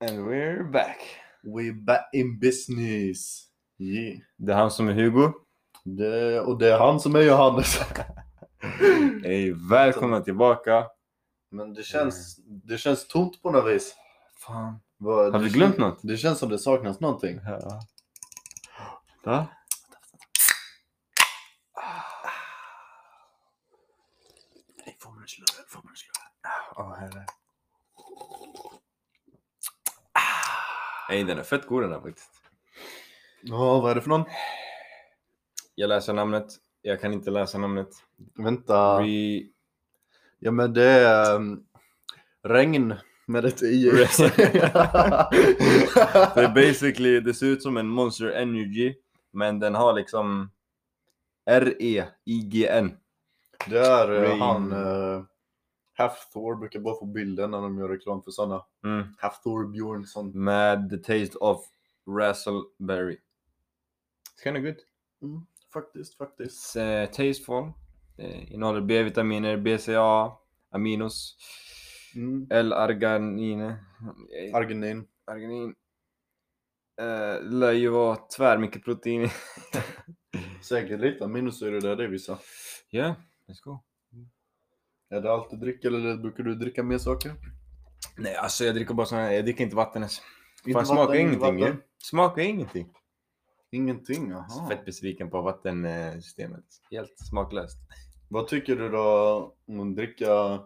And we're back. We're back in business. Yeah. Det är han som är Hugo. Det, och det är han som är Johannes. Hej, välkomna tillbaka. Men det känns, det känns tomt på något vis. Fan. Vad- Har vi det glömt kän- något? Det känns som det saknas någonting. Ja. Va? Nej, får man slå Får man slå Ah, Åh, herre. Nej, den är fett god den här faktiskt. Ja, vad är det för någon? Jag läser namnet. Jag kan inte läsa namnet. Vänta. Re... Ja, men det är ehm, regn med ett i. Det är basically, det ser ut som en Monster Energy, men den har liksom E R-E-I-G-N. det är eh, Rain. han. Uh, Hafthor brukar bara få bilden när de gör reklam för sådana. Mm. Hafthor Björnsson. Med the taste of raspberry. It's kinda good. Mm, faktiskt, faktiskt. It's eh, tasteful. Eh, innehåller B-vitaminer, BCA, aminos, Mm. L-arganine. eh, Arginin. Arganin. Eh, lär ju vara tvär mycket protein i. Säkert lite aminosyror där det är vissa. Ja, let's go. Är det allt du dricker eller brukar du dricka mer saker? Nej, alltså jag dricker bara sån här, jag dricker inte vatten ens. Inte Fan, vatten, smakar inte ingenting ju. vatten. Smakar ingenting. Ingenting, Så jaha. Alltså, Fett besviken på vattensystemet. Helt smaklöst. Vad tycker du då om att dricka...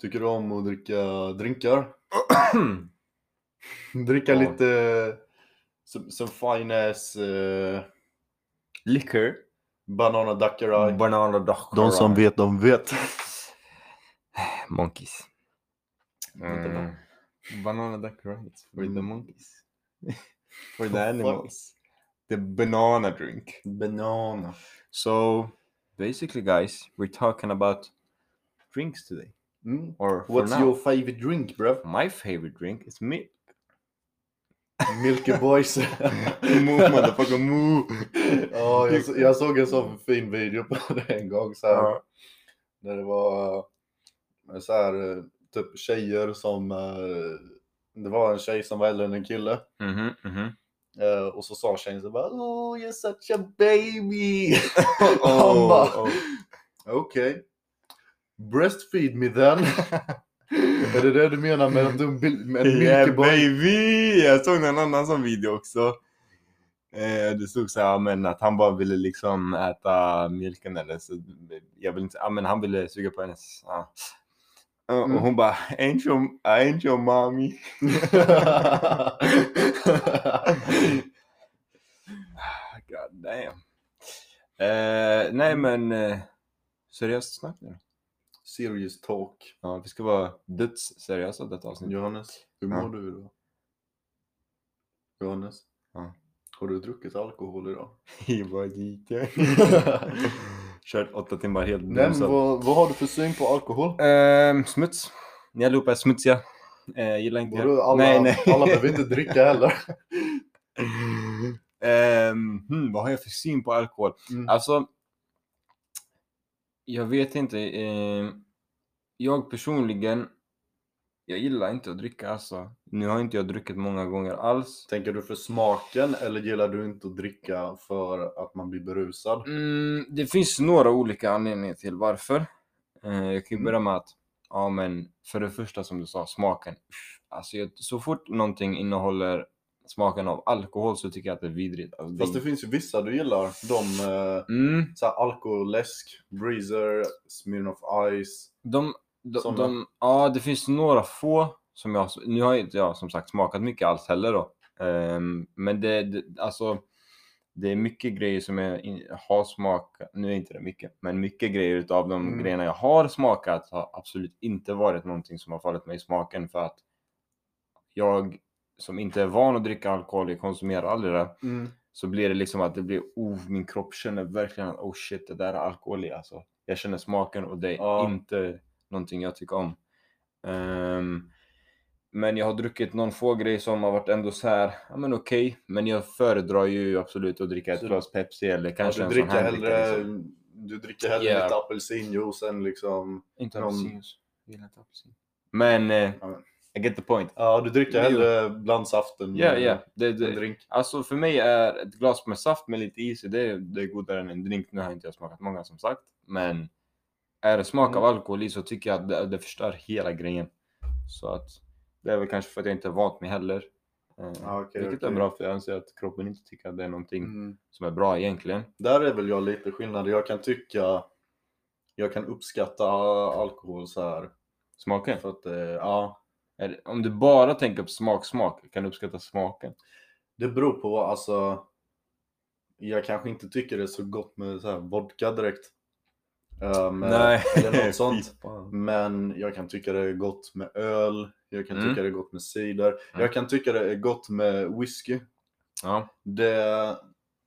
Tycker du om att dricka drinkar? Dricka Ja. lite... Som, som fine ass eh, Liquor. banana daiquiri. Mm. Banana dock. vet, de vet. Monkeys. Vänta, Mm. Banana duck rights for the Mm. monkeys. for the Fuck. animals. The banana drink. Banana. So basically guys, we're talking about drinks today. Mm. Or for What's now. your favorite drink, bruv? My favorite drink is milk. Milky Boys. Move motherfucker move! ja, jag, så- jag såg en sån fin video på det en gång. Så här, Ja. När det var eh, så här, eh, typ tjejer som... eh, Det var en tjej som var äldre än en kille. Mhm, mhm. Eh, Och så sa tjejen så bara Oh you're such a baby! Och Oh, han bara oh. Okej. Breastfeed me then. är det det du menar med att du är en bil- med en Yeah, Milky Boy? baby! Jag såg en annan sån video också. Eh, det stod så här, ja, men att han bara ville liksom äta mjölken eller så. Jag vill inte, ja, men han ville suga på hennes. Ja. Eh, Mm. Och hon bara, ain't your, ain't your mommy. God damn. Eh, nej men, eh, seriöst snack nu då. Serious talk. Ja, vi ska vara dödsseriösa detta avsnitt. Johannes, hur Ja. mår du idag? Johannes? Ja. Har du druckit alkohol idag? I vad gick jag? Kört åtta timmar helt Nej, men bromsad. vad, vad har du för syn på alkohol? Ehm, smuts. Ni allihopa är smutsiga. Eh, gillar inte Vadå, alla, nej, nej. alla behöver inte dricka heller. Ehm, hmm, vad har jag för syn på alkohol? Mm. Alltså, jag vet inte. ehm, jag personligen, jag gillar inte att dricka alltså. Nu har inte jag druckit många gånger alls. Tänker du för smaken eller gillar du inte att dricka för att man blir berusad? Mm, det finns några olika anledningar till varför. Eh, jag kan ju Mm. börja med att, ja men för det första som du sa, smaken. Usch, Alltså jag, så fort någonting innehåller smaken av alkohol så tycker jag att det är vidrigt. Alltså, det... Fast det finns ju vissa du gillar. De eh, Mm, så här alkoläsk, breezer, Smirnoff Ice. de, de, Såna. de, ja, det finns några få som jag, nu har inte jag som sagt smakat mycket alls heller då. Ehm, men det, det, alltså, det är mycket grejer som jag in, har smakat, nu är inte det mycket, men mycket grejer utav de Mm. grejerna jag har smakat har absolut inte varit någonting som har fallit mig i smaken för att jag som inte är van att dricka alkohol, jag konsumerar aldrig det, Mm. så blir det liksom att det blir, oh, min kropp känner verkligen att oh shit, det där är alkohol i alltså. Jag känner smaken och det är Ja. inte någonting jag tycker om. Ehm, men jag har druckit någon få grej som har varit ändå så här, ja men okej, men jag föredrar ju absolut att dricka ett Så- glas Pepsi eller kanske Kanske du en sån dricker här dricka. hellre, Liksom. du dricker hellre Ja. lite apelsinjuice än liksom Inte någon- apelsinjuice, jag gillar inte apelsin. Men eh, Ja, men- I get the point. Ja, du dricker Jo. hellre bland saften Ja, eh, ja. Det, än det, drink. alltså för mig är ett glas med saft med lite is i, det, det är godare än en drink. Nu har inte jag smakat många som sagt, men är det smak av alkohol i så tycker jag att det, det förstör hela grejen. Så att det är väl kanske för att jag inte är vant mig heller. Eh, Ja, okej, vilket är okej. bra för jag anser att kroppen inte tycker att det är någonting Mm. som är bra egentligen. Där är väl jag lite skillnad. Jag kan tycka, jag kan uppskatta alkohol så här. Smaken. För att, eh, ja, Är- Om du bara tänker på smak, smak, kan du uppskatta smaken? det beror på alltså. Jag kanske inte tycker det är så gott med så här vodka direkt. Ehm, Eller något sånt. Fy fan. Men jag kan tycka det är gott med öl, jag kan Mm. tycka det är gott med cider, jag kan tycka det är gott med whisky. Ja, Det,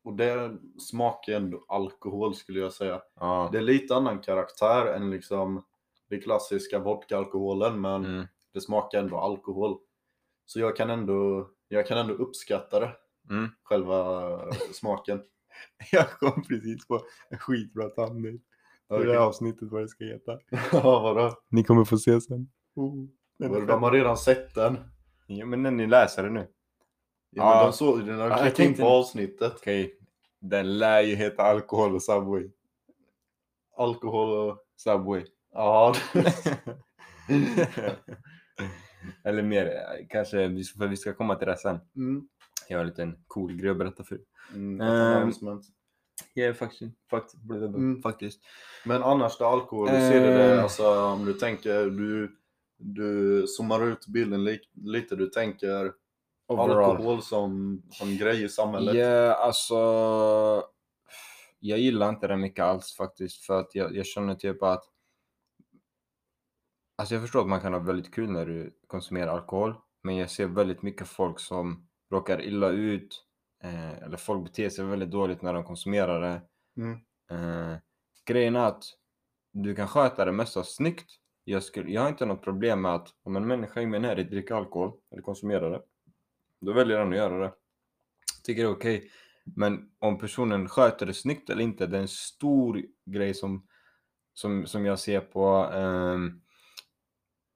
och det smakar ändå alkohol skulle jag säga. ja. Det är lite annan karaktär än liksom den klassiska vodka-alkoholen, men Mm. det smakar ändå alkohol. Så jag kan ändå, jag kan ändå uppskatta det, Mm. själva smaken. Jag kom precis på en skitbra thumbnail. Okej. ja, avsnittet vad det ska heta. vadå? Ni kommer få se sen. Mm. Vadå, De har redan sett den. Ja, men när ni läser det nu. Ja, men Ja. De såg den när Ja, jag de klickade in tänkte- på avsnittet. Okej, den lär ju heta alkohol och Subway. Alkohol och Subway. Ja, Mm. Eller mer, eh, kanske vi ska, för vi ska komma till det sen. mm. Jag har en liten cool grej att berätta för er. Mm, Ehm. announcement. Yeah, faktiskt. Faktiskt. Mm. faktiskt. Men annars det är alkohol, du ser det där, Ehm. alltså om du tänker, du, du zoomar ut bilden li- lite, du tänker alkohol som, som grej i samhället. Ja, alltså. Jag gillar inte det mycket alls faktiskt för att jag, jag känner typ att. Alltså jag förstår att man kan ha väldigt kul när du konsumerar alkohol, men jag ser väldigt mycket folk som råkar illa ut eh, eller folk beter sig väldigt dåligt när de konsumerar det. Mm. Eh, grejen är att du kan sköta det mesta snyggt. Jag, skulle, jag har inte något problem med att om en människa i min närhet dricker alkohol eller konsumerar det, då väljer den att göra det. Jag tycker det är okej. Men om personen sköter det snyggt eller inte, det är en stor grej som, som, som jag ser på. ehm,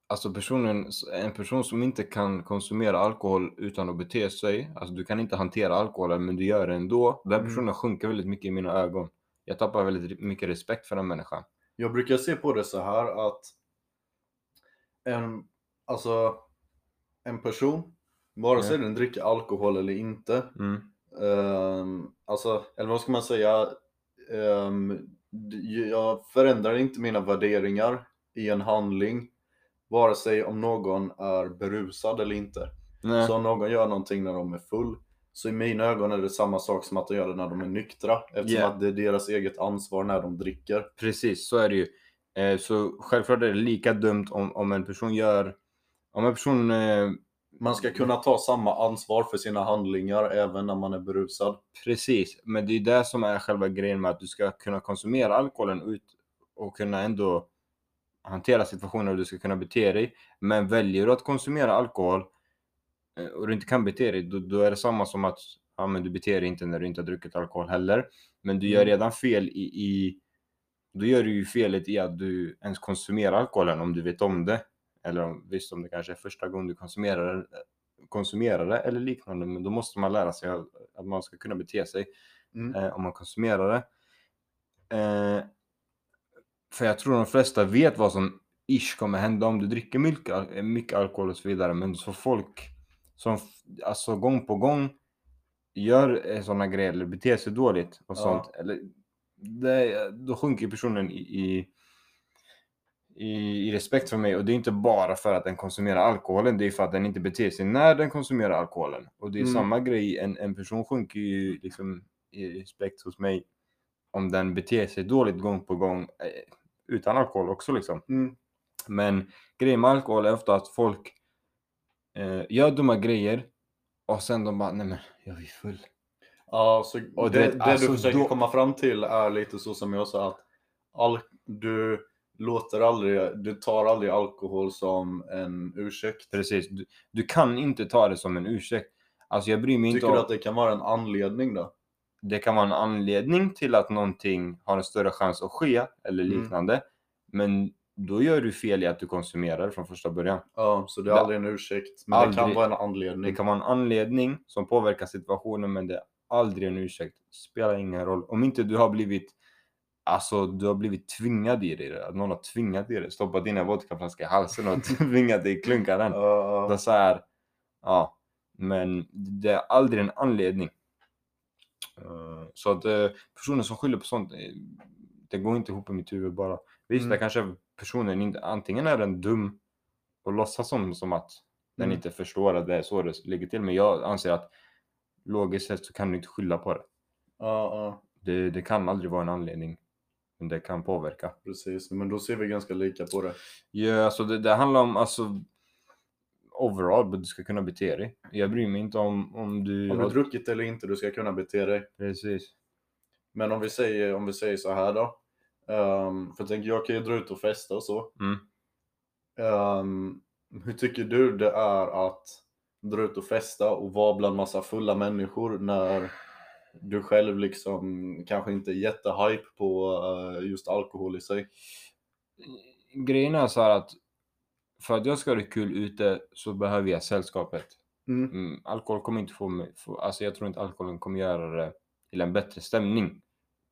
alltså personen, en person som inte kan konsumera alkohol utan att bete sig, alltså du kan inte hantera alkoholen men du gör det ändå. Den Mm. personen sjunker väldigt mycket i mina ögon. Jag tappar väldigt mycket respekt för den människan. Jag brukar se på det så här att en, alltså, en person, vare sig den dricker alkohol eller inte, Mm. Ehm, alltså, eller vad ska man säga? Ehm, d- jag förändrar inte mina värderingar i en handling, vare sig om någon är berusad eller inte. Nej. Så om någon gör någonting när de är full, så i mina ögon är det samma sak som att de gör det när de är nyktra, eftersom Ja. att det är deras eget ansvar när de dricker. Precis, så är det ju. Eh, så självklart är det lika dumt om, om en person gör... Om en person... Eh, Man ska kunna ta samma ansvar för sina handlingar även när man är berusad. Precis, men det är det som är själva grejen med att du ska kunna konsumera alkoholen ut och kunna ändå hantera situationen och du ska kunna bete dig. Men väljer du att konsumera alkohol eh, och du inte kan bete dig, då, då är det samma som att ja, men du beter dig inte när du inte har druckit alkohol heller. Men du gör Mm. redan fel i, i då gör du ju felet i att du ens konsumerar alkoholen om du vet om det. Eller om, visst om det kanske är första gången du konsumerar det, konsumerar det eller liknande, men då måste man lära sig att- att man ska kunna bete sig Mm. eh, om man konsumerar det. Eh, för jag tror de flesta vet vad som ish kommer hända om du dricker mycket, mycket alkohol och så vidare. Men så folk som f- alltså gång på gång gör sådana grejer eller beter sig dåligt och Ja. sånt. Eller, det, då sjunker personen i, i, i, i respekt för mig. Och det är inte bara för att den konsumerar alkoholen. Det är för att den inte beter sig när den konsumerar alkoholen. Och det är Mm. samma grej. En, en person sjunker ju liksom i respekt hos mig om den beter sig dåligt gång på gång eh, utan alkohol också liksom. Mm. Men grejen med alkohol är ofta att folk eh, gör dumma grejer och sen de bara nej men jag är full. Ja, så Och du det, vet, det alltså, du försöker då- komma fram till är lite så som jag sa att all, du låter aldrig, du tar aldrig alkohol som en ursäkt. Precis, du, du kan inte ta det som en ursäkt. Alltså jag bryr mig inte Tycker om... du att det kan vara en anledning då? det kan vara en anledning till att någonting har en större chans att ske eller Mm. liknande. Men då gör du fel i att du konsumerar från första början. Ja, så det är Det- aldrig en ursäkt. Men det kan Aldrig. vara en Det anledning. kan vara en anledning som påverkar situationen men det är aldrig en ursäkt. Spelar ingen roll. Om inte du har blivit Alltså du har blivit tvingad i det. Att någon har tvingat i det. Stoppat in en vodkaflaska i halsen och tvingat dig klunka den. Ja, Det är så här, ja. Men det är aldrig en anledning. Eh, Så att eh, personer som skyller på sånt, eh, det går inte ihop i mitt huvud bara. Visst, Mm. det kanske personen inte, antingen är den dum och låtsas som, som att den Mm. inte förstår att det är så det ligger till. Men jag anser att logiskt sett så kan du inte skylla på det. ja, ja. Det, det kan aldrig vara en anledning. Men det kan påverka. Precis, men då ser vi ganska lika på det. Ja, alltså det, det handlar om alltså overall, vad du ska kunna bete dig. Jag bryr mig inte om, om du... Om du har druckit eller inte, du ska kunna bete dig. Precis. Men om vi säger, om vi säger så här då. Ehm, för jag tänker, jag kan ju dra ut och festa och så. Mm. Ehm, hur tycker du det är att dra ut och festa och vara bland massa fulla människor när du själv liksom kanske inte är jättehype på eh, just alkohol i sig? Grejen är så här att för att jag ska ha det kul ute så behöver jag sällskapet. Mm. Mm, alkohol kommer inte få mig... Få, alltså jag tror inte alkoholen kommer göra det till en bättre stämning.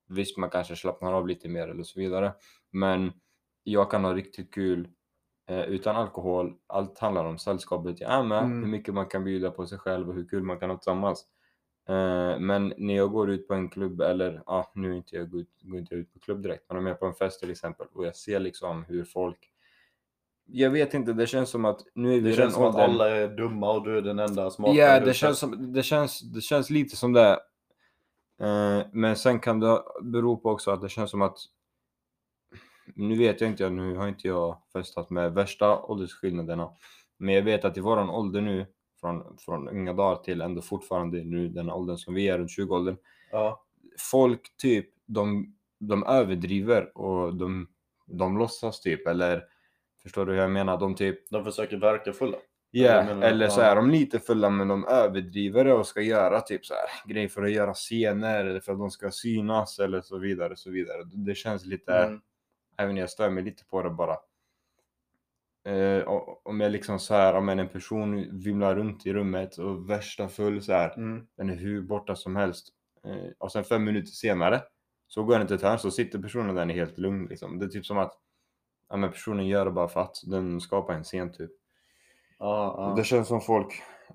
Visst, man kanske slappnar av lite mer eller så vidare. Men jag kan ha riktigt kul eh, utan alkohol. Allt handlar om sällskapet jag är med, Mm. hur mycket man kan bjuda på sig själv och hur kul man kan ha tillsammans. Eh, men när jag går ut på en klubb eller, ja ah, nu är inte jag, går, ut- går inte jag ut på klubb direkt, men om jag är på en fest till exempel och jag ser liksom hur folk jag vet inte, det känns som att nu är vi Det i känns den som att åldern. alla är dumma och du är den enda Ja, smarta. i det, huset. känns som, det, känns, det känns lite som det. Eh, men sen kan det bero på också att det känns som att... Nu vet jag inte, nu har inte jag festat med värsta åldersskillnaderna. Men jag vet att i våran ålder nu, från, från unga dagar till ändå fortfarande nu den åldern som vi är, runt 20-åldern. Ja, Folk typ, de, de överdriver och de, de låtsas typ, eller förstår du hur jag menar? De typ de försöker verka fulla. Ja, Eller menar du- eller så ja. är de lite fulla men de överdriver det och ska göra typ så här grejer för att göra scener eller för att de ska synas eller så vidare så vidare. Det känns lite, Mm. även jag stör mig lite på det bara. Eh, o- om jag liksom så här, om en person vimlar runt i rummet och värsta full så här, Mm. den är hur borta som helst. Eh, och sen fem minuter senare så går den till ett hörn så sitter personen där den är helt lugn liksom. Det är typ som att ja, men personen gör det bara för att den skapar en scen typ. Ja, ja. Det känns som folk,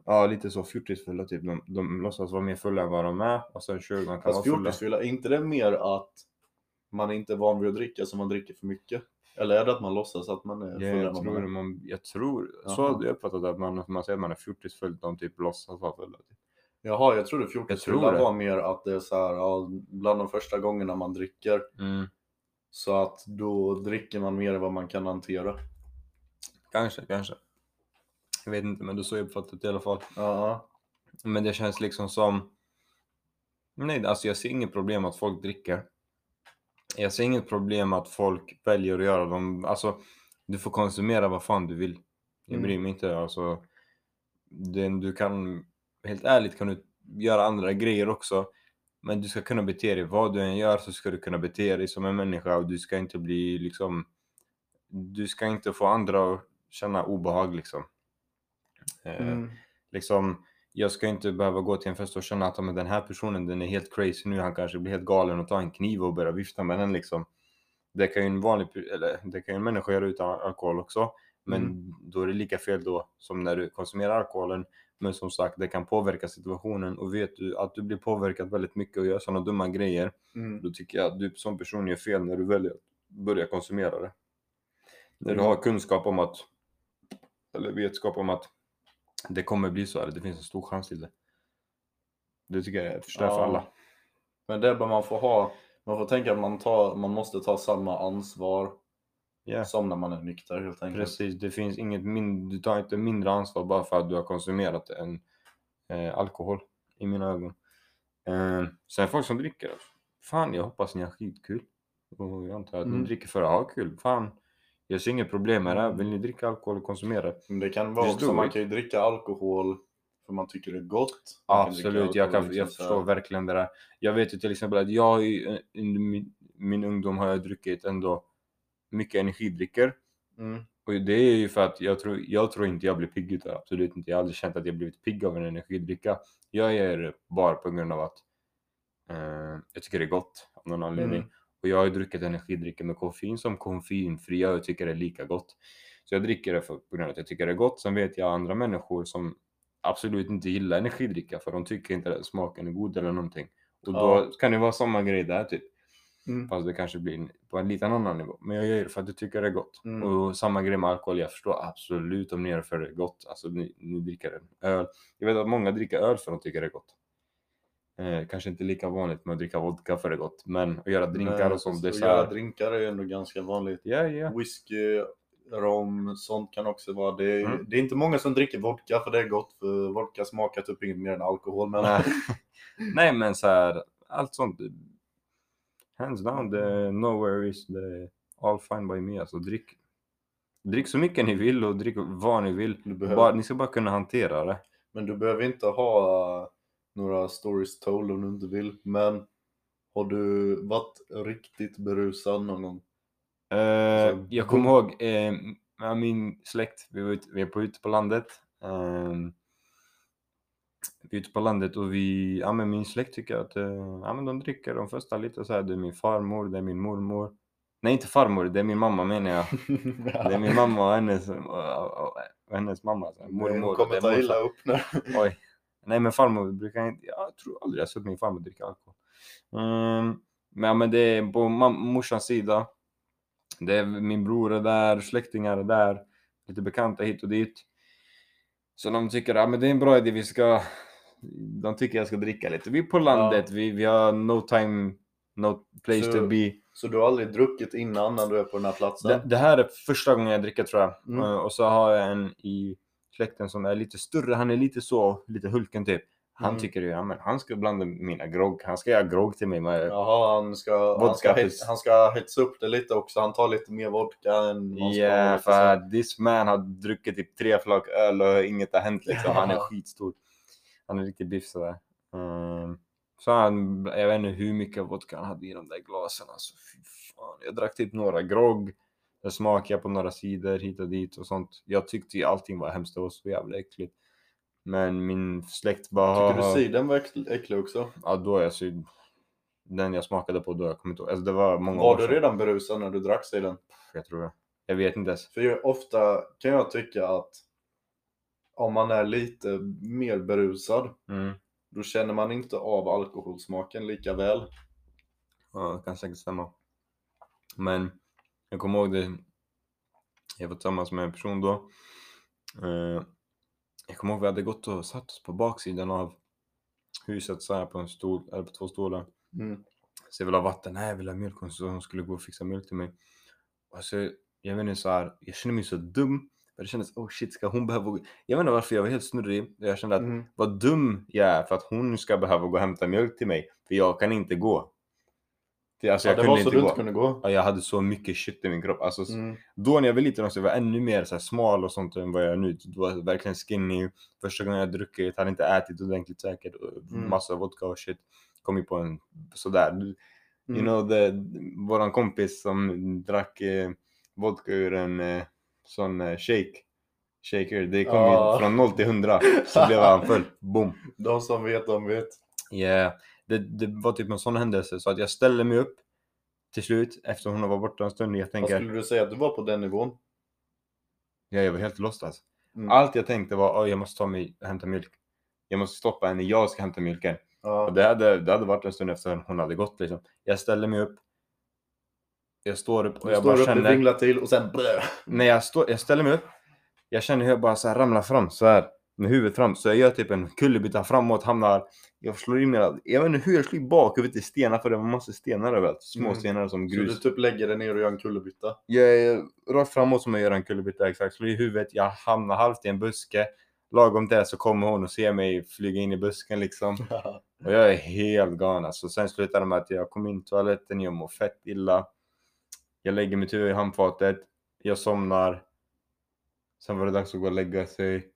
ja lite så fjortisfulla typ. De, de låtsas vara mer fulla än vad de är och sen kör man kan Fast vara fulla. fjortisfylla, är inte det mer att man inte är van vid att dricka så man dricker för mycket? Eller är det att man låtsas att man är Ja, full? än Jag vad tror, man är? man, jag tror, så Jaha. hade jag uppfattat det, att man, man säger att man är fjortisfull, de typ låtsas vara fulla. Typ. Jaha, jag trodde tror fjortisfylla det. var mer att det är så här, ja, bland de första gångerna man dricker så att då dricker man mer än vad man kan hantera. Kanske, kanske. Jag vet inte, men det är så jag uppfattat det i alla fall. Ja, Men det känns liksom som... Nej, alltså jag ser inget problem att folk dricker. Jag ser inget problem att folk väljer att göra dem. Alltså, du får konsumera vad fan du vill. Jag Mm. bryr mig inte. Alltså, det, du kan... Helt ärligt kan du göra andra grejer också. Men du ska kunna bete dig. Vad du än gör så ska du kunna bete dig som en människa och du ska inte bli liksom... Du ska inte få andra att känna obehag liksom. Eh, mm. liksom, jag ska inte behöva gå till en fest och känna att "Ja, men den här personen den är helt crazy nu, han kanske blir helt galen och tar en kniv och börjar vifta med den liksom. Det kan ju en vanlig, pe- eller det kan ju en människa göra utan alkohol också, men då är det lika fel då som när du konsumerar alkoholen. Men som sagt, det kan påverka situationen och vet du att du blir påverkad väldigt mycket och gör sådana dumma grejer, Mm. då tycker jag att du som person gör fel när du väljer att börja konsumera det. När du Mm. har kunskap om att, eller vetskap om att det kommer bli så här, det finns en stor chans till det. Det tycker jag är förstör för Ja. alla. Men det bör man få ha. Man får tänka att man, tar, man måste ta samma ansvar Ja. som när man är nykter helt enkelt. Precis, det finns inget min- du tar inte mindre ansvar bara för att du har konsumerat en eh, alkohol i mina ögon. Eh, sen folk som dricker, fan jag hoppas ni har skitkul. Och jag antar att Mm. ni dricker för att ha kul. Fan, jag ser inget problem med det. här. Vill ni dricka alkohol och konsumera? Men det kan vara Just också, do man it. kan ju dricka alkohol för man tycker det är gott. Man kan dricka Absolut, jag, alkohol kan, liksom jag så här. förstår verkligen det där. Jag vet ju till exempel att jag i- under min, min ungdom har jag druckit ändå mycket energidrycker. Mm. Och det är ju för att jag tror, jag tror inte jag blir pigg utav det, absolut inte. Jag har aldrig känt att jag blivit pigg av en energidricka. Jag gör det bara på grund av att eh, jag tycker det är gott av någon anledning. Mm. Och jag har ju druckit energidrycker med koffein som koffeinfria och jag tycker det är lika gott. Så jag dricker det för, på grund av att jag tycker det är gott. Sen vet jag andra människor som absolut inte gillar energidricka för de tycker inte att smaken är god eller någonting. Och då Ja. kan det vara samma grej där typ. Mm. Fast det kanske blir en- på en liten annan nivå. Men jag gör det för att jag tycker det är gott. Mm. Och samma grej med alkohol. Jag förstår absolut om ni gör det för det är gott. Alltså ni, ni dricker en öl. Jag vet att många dricker öl för att de tycker det är gott. Eh, kanske inte lika vanligt med att dricka vodka för det är gott. Men att göra drinkar Men och sånt. Det är att så göra här, drinkar är ju ändå ganska vanligt. ja, ja. Whisky, rom, sånt kan också vara. Det är, Mm. det är inte många som dricker vodka för det är gott. För vodka smakar typ inget mer än alkohol. Men Nej. Nej men så här. Allt sånt. Hands down. The, nowhere is the all fine by me. Alltså drick. Drick så mycket ni vill och drick vad ni vill. du behöver Bara, ni ska bara kunna hantera det. Men du behöver inte ha eh, några stories told om du inte vill. Men har du varit riktigt berusad någon gång? Eh, Så- jag kommer ihåg eh, ja, min släkt, vi var ute, vi är på, ute på landet. ehm, vi är ute på landet och vi, ja men min släkt tycker att, eh, ja men de dricker, de festar lite så här. Det är min farmor, det är min mormor. Nej inte farmor, det är min mamma menar jag. Det är min mamma och hennes, och, och, och hennes mamma. Så här, Mormor mormor. Hon och kommer det är ta morfar. illa upp nu. Oj. Nej men farmor brukar inte, jag tror aldrig jag har sett min farmor dricka alkohol. Mm, men, ja, men det är på mam- morsans sida. Det är min bror är där, släktingar är där, lite bekanta hit och dit. Så de tycker att men det är en bra idé, vi ska... De tycker jag ska dricka lite. Vi är på landet, vi, vi har no time, no place Så- to be. Så du har aldrig druckit innan när du är på den här platsen? Alltså, Det, det här är första gången jag dricker tror jag. Mm. Eh, Och så har jag en i släkten som är lite större, han är lite så, lite Hulken typ. Han Mm. tycker ju, ja men han ska blanda mina grogg, han ska göra grogg till mig med Jaha, han ska, han, ska Vodka, hets, precis. han ska hetsa upp det lite också. Han tar lite mer vodka än man ska. liksom. Yeah, och så. för this man har druckit typ tre flak öl och inget har hänt liksom. Han är Ja. skitstor. Han är riktigt biff sådär. Mm. Så han, jag vet inte hur mycket vodka han hade i de där glasen alltså. Fy fan. Jag drack typ några grogg. Jag smakade på några sidor hit och dit och sånt. Jag tyckte ju allting var hemskt och så jävla äckligt. Men min släkt bara... Tycker du cidern var äckl- äcklig också? Ja, då är jag syd. Den jag smakade på då, jag kommer inte ihåg. Alltså det var många Var år du sedan. redan berusad när du drack cidern? Jag tror jag. Jag vet inte ens. För jag, ofta kan jag tycka att om man är lite mer berusad, Mm. då känner man inte av alkoholsmaken lika väl. Ja, det kan säkert stämma. Men jag kommer ihåg det. Jag var tillsammans med en person då. Eh, jag kommer ihåg vi hade gått och satt oss på baksidan av huset så här på en stol, eller på två stolar. Mm. Så jag ville ha vatten, nej jag vill ha mjölk. Hon sa hon skulle gå och fixa mjölk till mig. Och så, jag vet inte så här, jag känner mig så dum. För det kändes, oh shit, ska hon behöva gå? Jag vet inte varför jag var helt snurrig. Jag kände att alltså, Mm. vad dum jag är för att hon ska behöva gå och hämta mjölk till mig. För jag kan inte gå. Det- Alltså Ja, jag det var kunde så inte du gå. inte kunde gå. Ja, jag hade så mycket shit i min kropp. Alltså, s- Mm. Då när jag var liten också, jag var ännu mer så här, smal och sånt än vad jag är nu. Då var jag verkligen skinny. Första gången jag druckit, hade inte ätit ordentligt säkert. och Mm. Massa vodka och shit. Kom ju på en sådär. Du- You Mm. know, the, våran kompis som drack eh, vodka ur en eh, sån eh, shake. Shaker, det kom Ja. ju från 0 till 100. Så blev han full. Boom. De som vet, de vet. Yeah. Det, det var typ en sån händelse. Så att jag ställde mig upp till slut efter hon var borta en stund. Jag Vad tänker, skulle du säga att du var på den nivån? Ja, jag var helt lost alltså. Mm. Allt jag tänkte var att jag måste ta mig och hämta mjölk. Jag måste stoppa henne, jag ska hämta mjölken. Ja. Och det, hade, det hade varit en stund efter hon hade gått liksom. Jag ställer mig upp. Jag står upp och Du jag står bara upp, du känner. vinglar till och sen blö. Nej, jag, står, jag ställer mig upp. Jag känner hur jag bara så här ramlar fram så här. Med huvudet fram. Så jag gör typ en kullerbytta framåt, hamnar. Jag slår in mina... Jag vet inte hur jag slog bakhuvudet i stenar för det var massa stenar överallt. Små Mm. stenar som Så grus. du typ lägger dig ner och gör en kullerbytta. Jag är rakt framåt som jag gör en kullerbytta exakt, slår i huvudet, jag hamnar halvt i en buske. Lagom där så kommer hon och ser mig flyga in i busken liksom. Och jag är helt galen alltså. Sen slutar det med att jag kommer in i toaletten, jag mår fett illa. Jag lägger mitt huvud i handfatet, jag somnar. Sen var det dags att gå och lägga sig.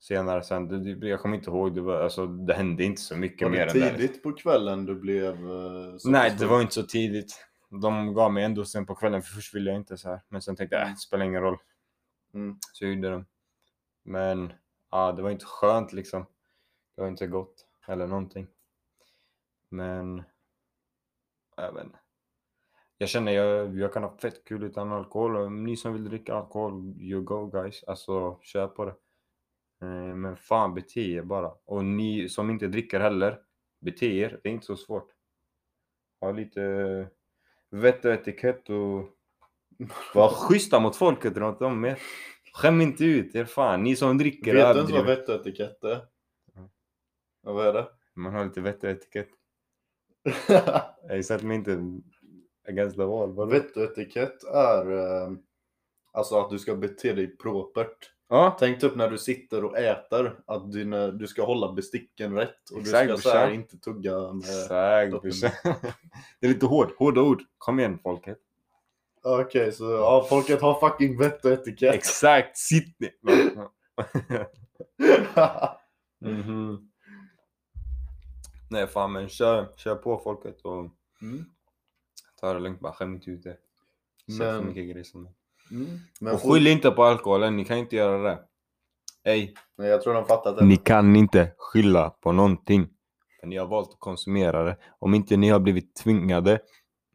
Senare sen, det- det- jag kommer inte ihåg, det, var, alltså, det hände inte så mycket Var mer det än det. tidigt på kvällen du blev eh, så Nej, pass det full? var inte så tidigt. De gav mig ändå sen på kvällen, för först ville jag inte så här. Men sen tänkte jag, äh, det spelar ingen roll. Mm. Så jag gjorde det. Men ja, det var inte skönt liksom. Det var inte gott eller någonting. Men jag vet inte. Jag känner jag, jag kan ha fett kul utan alkohol. Och Ni som vill dricka alkohol, you go guys. Alltså, kör på det. Eh, Men fan, bete er bara. Och ni som inte dricker heller, bete er. Det är inte så svårt. Ha lite eh, vett och etikett och var schyssta mot folket runt om er. Skäm inte ut er fan. Ni som dricker Vet du inte vad överdriver. vett och etikett är? Mm. Ja, vad är det? Man har lite vett och etikett. Jag satt mig inte against the wall. Vadå? vett och etikett är eh, alltså att du ska bete dig propert. Ja, Tänk typ när du sitter och äter, att dina, du ska hålla besticken rätt och Exakt, du ska så här, brorsan. inte tugga med... exakt. dock en- brorsan. Det är lite hårt. Hårda ord. Kom igen folket. Okej, så ja, folket har fucking vett och etikett. Exakt. Sitt ner. Mhm. Nej fan men kör, kör på folket och Mm. ta det lugnt bara. Skäm inte ut er. Säg för Men- mycket grejer som Mm. Men Och skyll inte på alkoholen. Ni kan inte göra det. Ej. Nej, jag tror de fattat det. Ni kan inte skylla på någonting. För ni har valt att konsumera det. Om inte ni har blivit tvingade.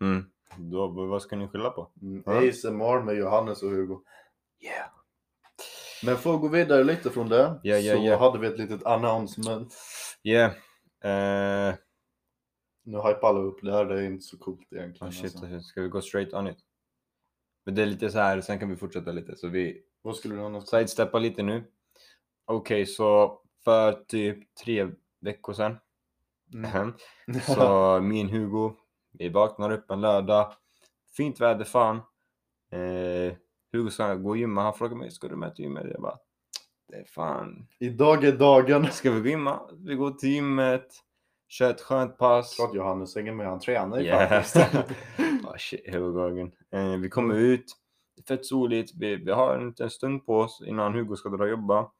Mm. Då, vad ska ni skylla på? Mm, Ja. ASMR med Johannes och Hugo. Yeah. Men för att gå vidare lite från det Ja, ja, så ja. hade vi ett litet announcement. Yeah. Eh, Nu hypar alla upp det här, det är inte så coolt egentligen. oh shit, alltså. alltså. ska vi gå straight on it? Men det är lite så här, sen kan vi fortsätta lite. Så vi Vad skulle du annars sidesteppar lite nu. Okej, så för typ tre veckor sedan Mm. så min Hugo, vi vaknar upp en lördag. Fint väder fan. Eh, Hugo ska gå och gymma. Han frågar mig, ska du med till gymmet? Jag bara, det är fan. Idag är dagen. Ska vi gå gymma? Vi går till gymmet, kör ett skönt pass. Klart Johannes hänger med, han tränar ju Yeah. faktiskt. oh, shit, hela dagen. Eh, vi kommer ut, det är fett soligt, vi, vi har en liten stund på oss innan Hugo ska dra och jobba.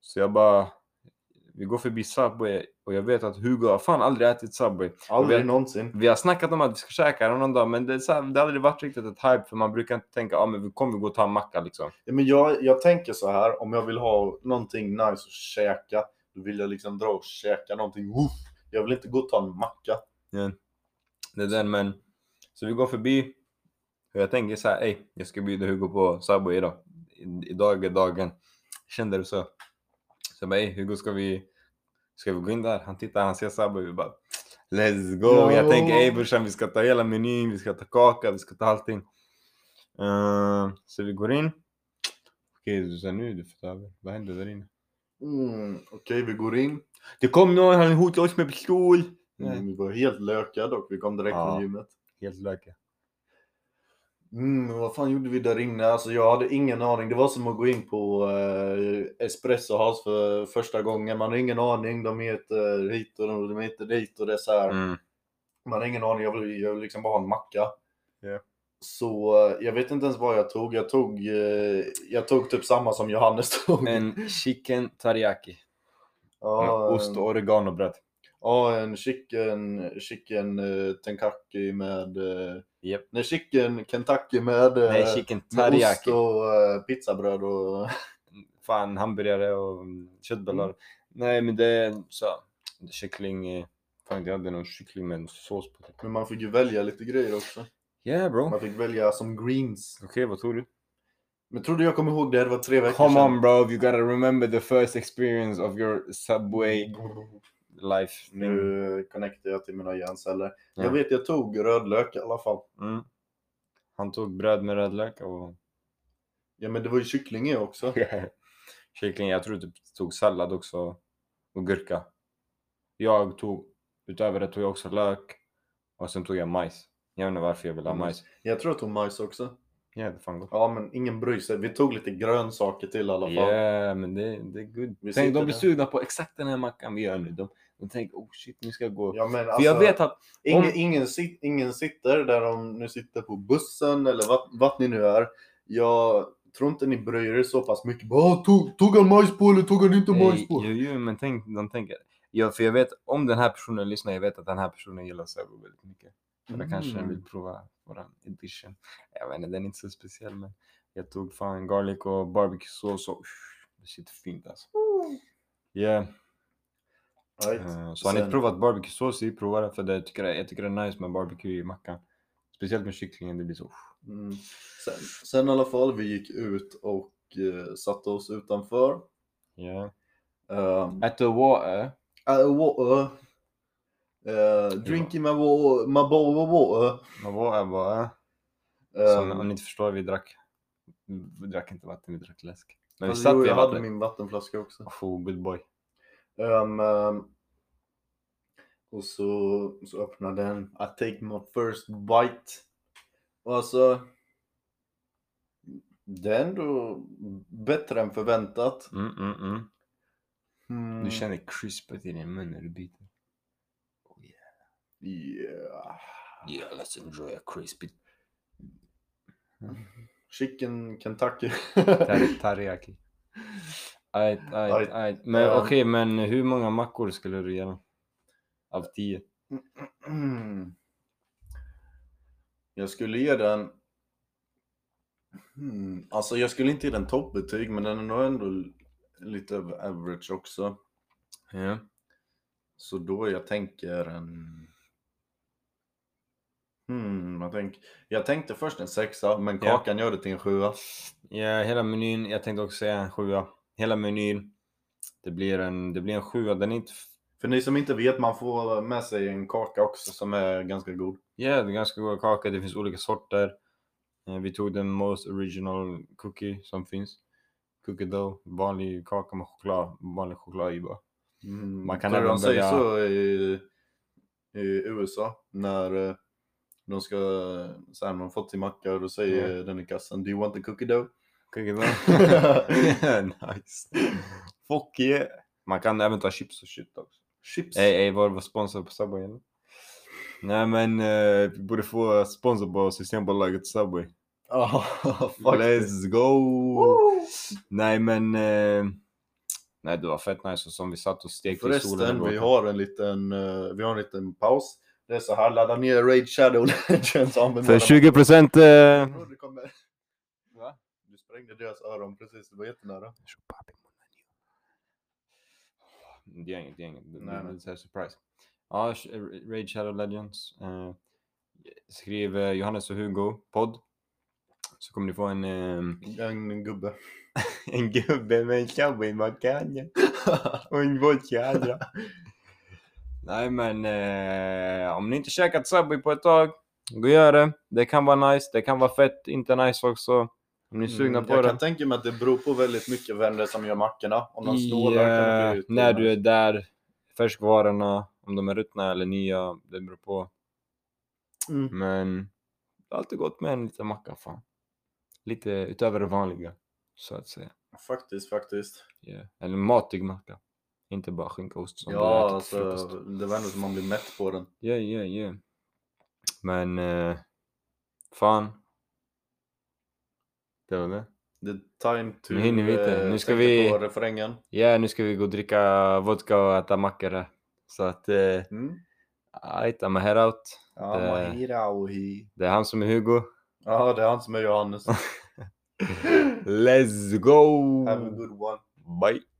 Så jag bara, vi går förbi Subway och jag vet att Hugo har fan aldrig ätit Subway. Aldrig vet- någonsin. Vi har snackat om att vi ska käka den någon dag men det, är så här, det har aldrig varit riktigt ett hype för man brukar inte tänka, ja ah, men vi kommer vi gå och ta en macka liksom. Ja, men jag, jag tänker så här, om jag vill ha någonting nice att käka, då vill jag liksom dra och käka någonting. Woof! Jag vill inte gå och ta en macka. Det är den men, så vi går förbi och jag tänker så här, ey jag ska bjuda Hugo på Subway idag. I- Idag är dagen. Kände du så? Så jag bara, ey Hugo ska vi, ska vi gå in där? Han tittar, han ser Subway, vi bara Let's go! Jag Ja. tänker ey brorsan vi ska ta hela menyn, vi ska ta kaka, vi ska ta allting. Eh, så vi går in. Okej, du sa nu du får ta över. Vad hände där inne? Mm, Okej, vi går in. Det kom någon, han hotade oss med pistol. Mm, vi var helt lökade och vi kom direkt Ja. från gymmet. Helt löke. Mm, vad fan gjorde vi där inne? Alltså jag hade ingen aning. Det var som att gå in på eh, Espresso House för första gången. Man har ingen aning. De heter hit och de heter dit och det är så här. Mm. Man har ingen aning. Jag vill, jag vill liksom bara ha en macka. Ja. Så eh, jag vet inte ens vad jag tog. Jag tog, eh, jag tog typ samma som Johannes tog. En chicken teriyaki. ja, Ost och oreganobröd. Ja, en chicken, chicken eh, Kentucky med... eh, Japp. Nej, chicken Kentucky med... eh, Nej, chicken Med ost teriyaki. och eh, pizzabröd och... Fan, hamburgare och mm, köttbullar. Mm. Nej, men det är så. Kyckling. eh, Fan, jag hade någon kyckling med en sås på. typ. Men man fick ju välja lite grejer också. Yeah bro. Man Okej, fick välja som greens. vad tror du? Men Men tror du jag kommer ihåg det? Det var tre veckor Come sedan. on bro, you gotta remember the first experience of your subway life. Mm. Nu connectar jag till mina hjärnceller. Ja. Jag vet, jag tog rödlök i alla fall. Mm. Han tog bröd med rödlök och Ja, men det var ju kyckling i också. Kyckling, jag tror du tog sallad också och gurka. Jag tog, utöver det tog jag också lök och sen tog jag majs. Jag vet inte varför jag vill ha Mm. majs. Jag tror jag tog majs också. Ja, det fan gott. Ja, men ingen bryr sig. Vi tog lite grönsaker till i alla fall. Ja, men det, det är good. Vi Tänk, sitter de blir där. sugna på exakt den här mackan vi gör nu. De, de tänker, oh shit, nu ska jag gå. Ja, men alltså, För jag vet att, Ingen, Om- ingen, sit, ingen sitter där de nu sitter på bussen eller vart, vart ni nu är. Jag tror inte ni bryr er så pass mycket. Bara, "Ah, tog, tog han majs på eller tog han inte nej, majs på? jo, jo, men tänk, de tänker. Ja, för jag vet, om den här personen lyssnar, jag vet att den här personen gillar Säbo väldigt mycket. För jag kanske Mm. vill prova våran edition. Jag vet inte, den är inte så speciell men jag tog fan garlic och barbecuesås och uff, det sitter fint alltså. Yeah. Right. eh, Så har ni Sen- inte provat barbecuesås, så prova det för det, jag, tycker det, jag tycker det är nice med barbecue i mackan. Speciellt med kycklingen, det blir så. uff. Mm. Sen, sen i alla fall, vi gick ut och eh, satte oss utanför. Yeah. Um, At the water. uh, water. Eh, drinking my water, my bowl of water. Vad var det bara? Som, om Um, ni inte förstår, vi drack, vi drack inte vatten, vi drack läsk. Men vi fast satt Alltså, jo, vid jag hade vattnet. min vattenflaska också. Oh, good boy. Um, um, och så, så öppnade den. I take my first bite. Och alltså. Det är ändå bättre än förväntat. Mm, mm, mm. Mm. Du känner krispet i din mun när du biter. Oh, yeah. Yeah. yeah, let's enjoy a crispy Chicken Kentucky. tar- teriyaki. Ajt, ajt, Ajt. ajt. Men Ja. okej, men hur många mackor skulle du ge Av tio? Mm. Jag skulle ge den... Hmm. Alltså jag skulle inte ge den toppbetyg men den är nog ändå lite över average också. Ja. Så då jag tänker en... Hmm, jag, tänk... jag tänkte först en sexa men Ja. kakan gör det till en sjua. ja, hela menyn. Jag tänkte också säga en sjua. Hela menyn. Det blir en, det blir en sjua. Den är inte... f- För ni som inte vet, man får med sig en kaka också som är ganska god. Ja, det är ganska god kaka. Det finns olika sorter. Eh, Vi tog den most original cookie som finns. Cookie dough. Vanlig kaka med choklad. Vanlig choklad i bara. Mm. Man kan för även de säger välja- så i, i USA när eh, de ska, så här, man fått till macka då säger den i kassan Do you want the cookie dough? Cookie dough. nice. Fuck yeah. Man kan även ta chips och shit också. Chips! Ey, ey, var var sponsor på Subway eller? Nej men eh, vi borde få sponsor på Systembolaget Subway. Ja, Ah, fuck it. Let's go! Nej men... Eh, nej det var fett nice och som vi satt och stekte i solen. Förresten, igår. vi har en liten, eh, vi har en liten paus. Det är så här, ladda ner Raid Shadow Legends och använd För våra- 20 procent... Eh... Bro, det kommer- Du sprängde deras öron precis, det var jättenära. Det är inget, det är inget. Det- Nej, det- nej. Det är surprise. Ja, Sh- eh, Raid Shadow Legends. Eh, skriv eh, Johannes och Hugo podd. Så kommer ni få en, eh, En gubbe. en gubbe med en cowboymacka. Och en vodka andra. Nej men eh, om ni inte käkat Subway på ett tag, gå och gör det. Det kan vara nice, det kan vara fett, inte nice också. Om ni är sugna Mm, på jag det. kan tänka mig att det beror på väldigt mycket vem det är som gör mackorna. Om de I, snålar kan det eh, bli lite när du är nice. där, färskvarorna, om de är ruttna eller nya, det beror på. Mm. Men det är alltid gott med en liten macka fan. Lite utöver det vanliga, så att säga. Faktiskt, faktiskt. Yeah. Eller matig macka. Inte bara skinka och ost som du ja, äter till alltså, frukost. det var ändå som man blir mätt på den. Ja, ja, ja. Men... Eh, fan. Det var det. The time to Nu hinner vi inte. eh, Nu ska tänka vi- på refrängen. Ja, nu ska vi gå och dricka vodka och äta mackor här. Så att... Eh, Mm. ajt, I'm a head out. Ja, Det- Mahira och hi. Det är han som är Hugo. Ja, det är han som är Johannes. Let's go! Have a good one. Bye!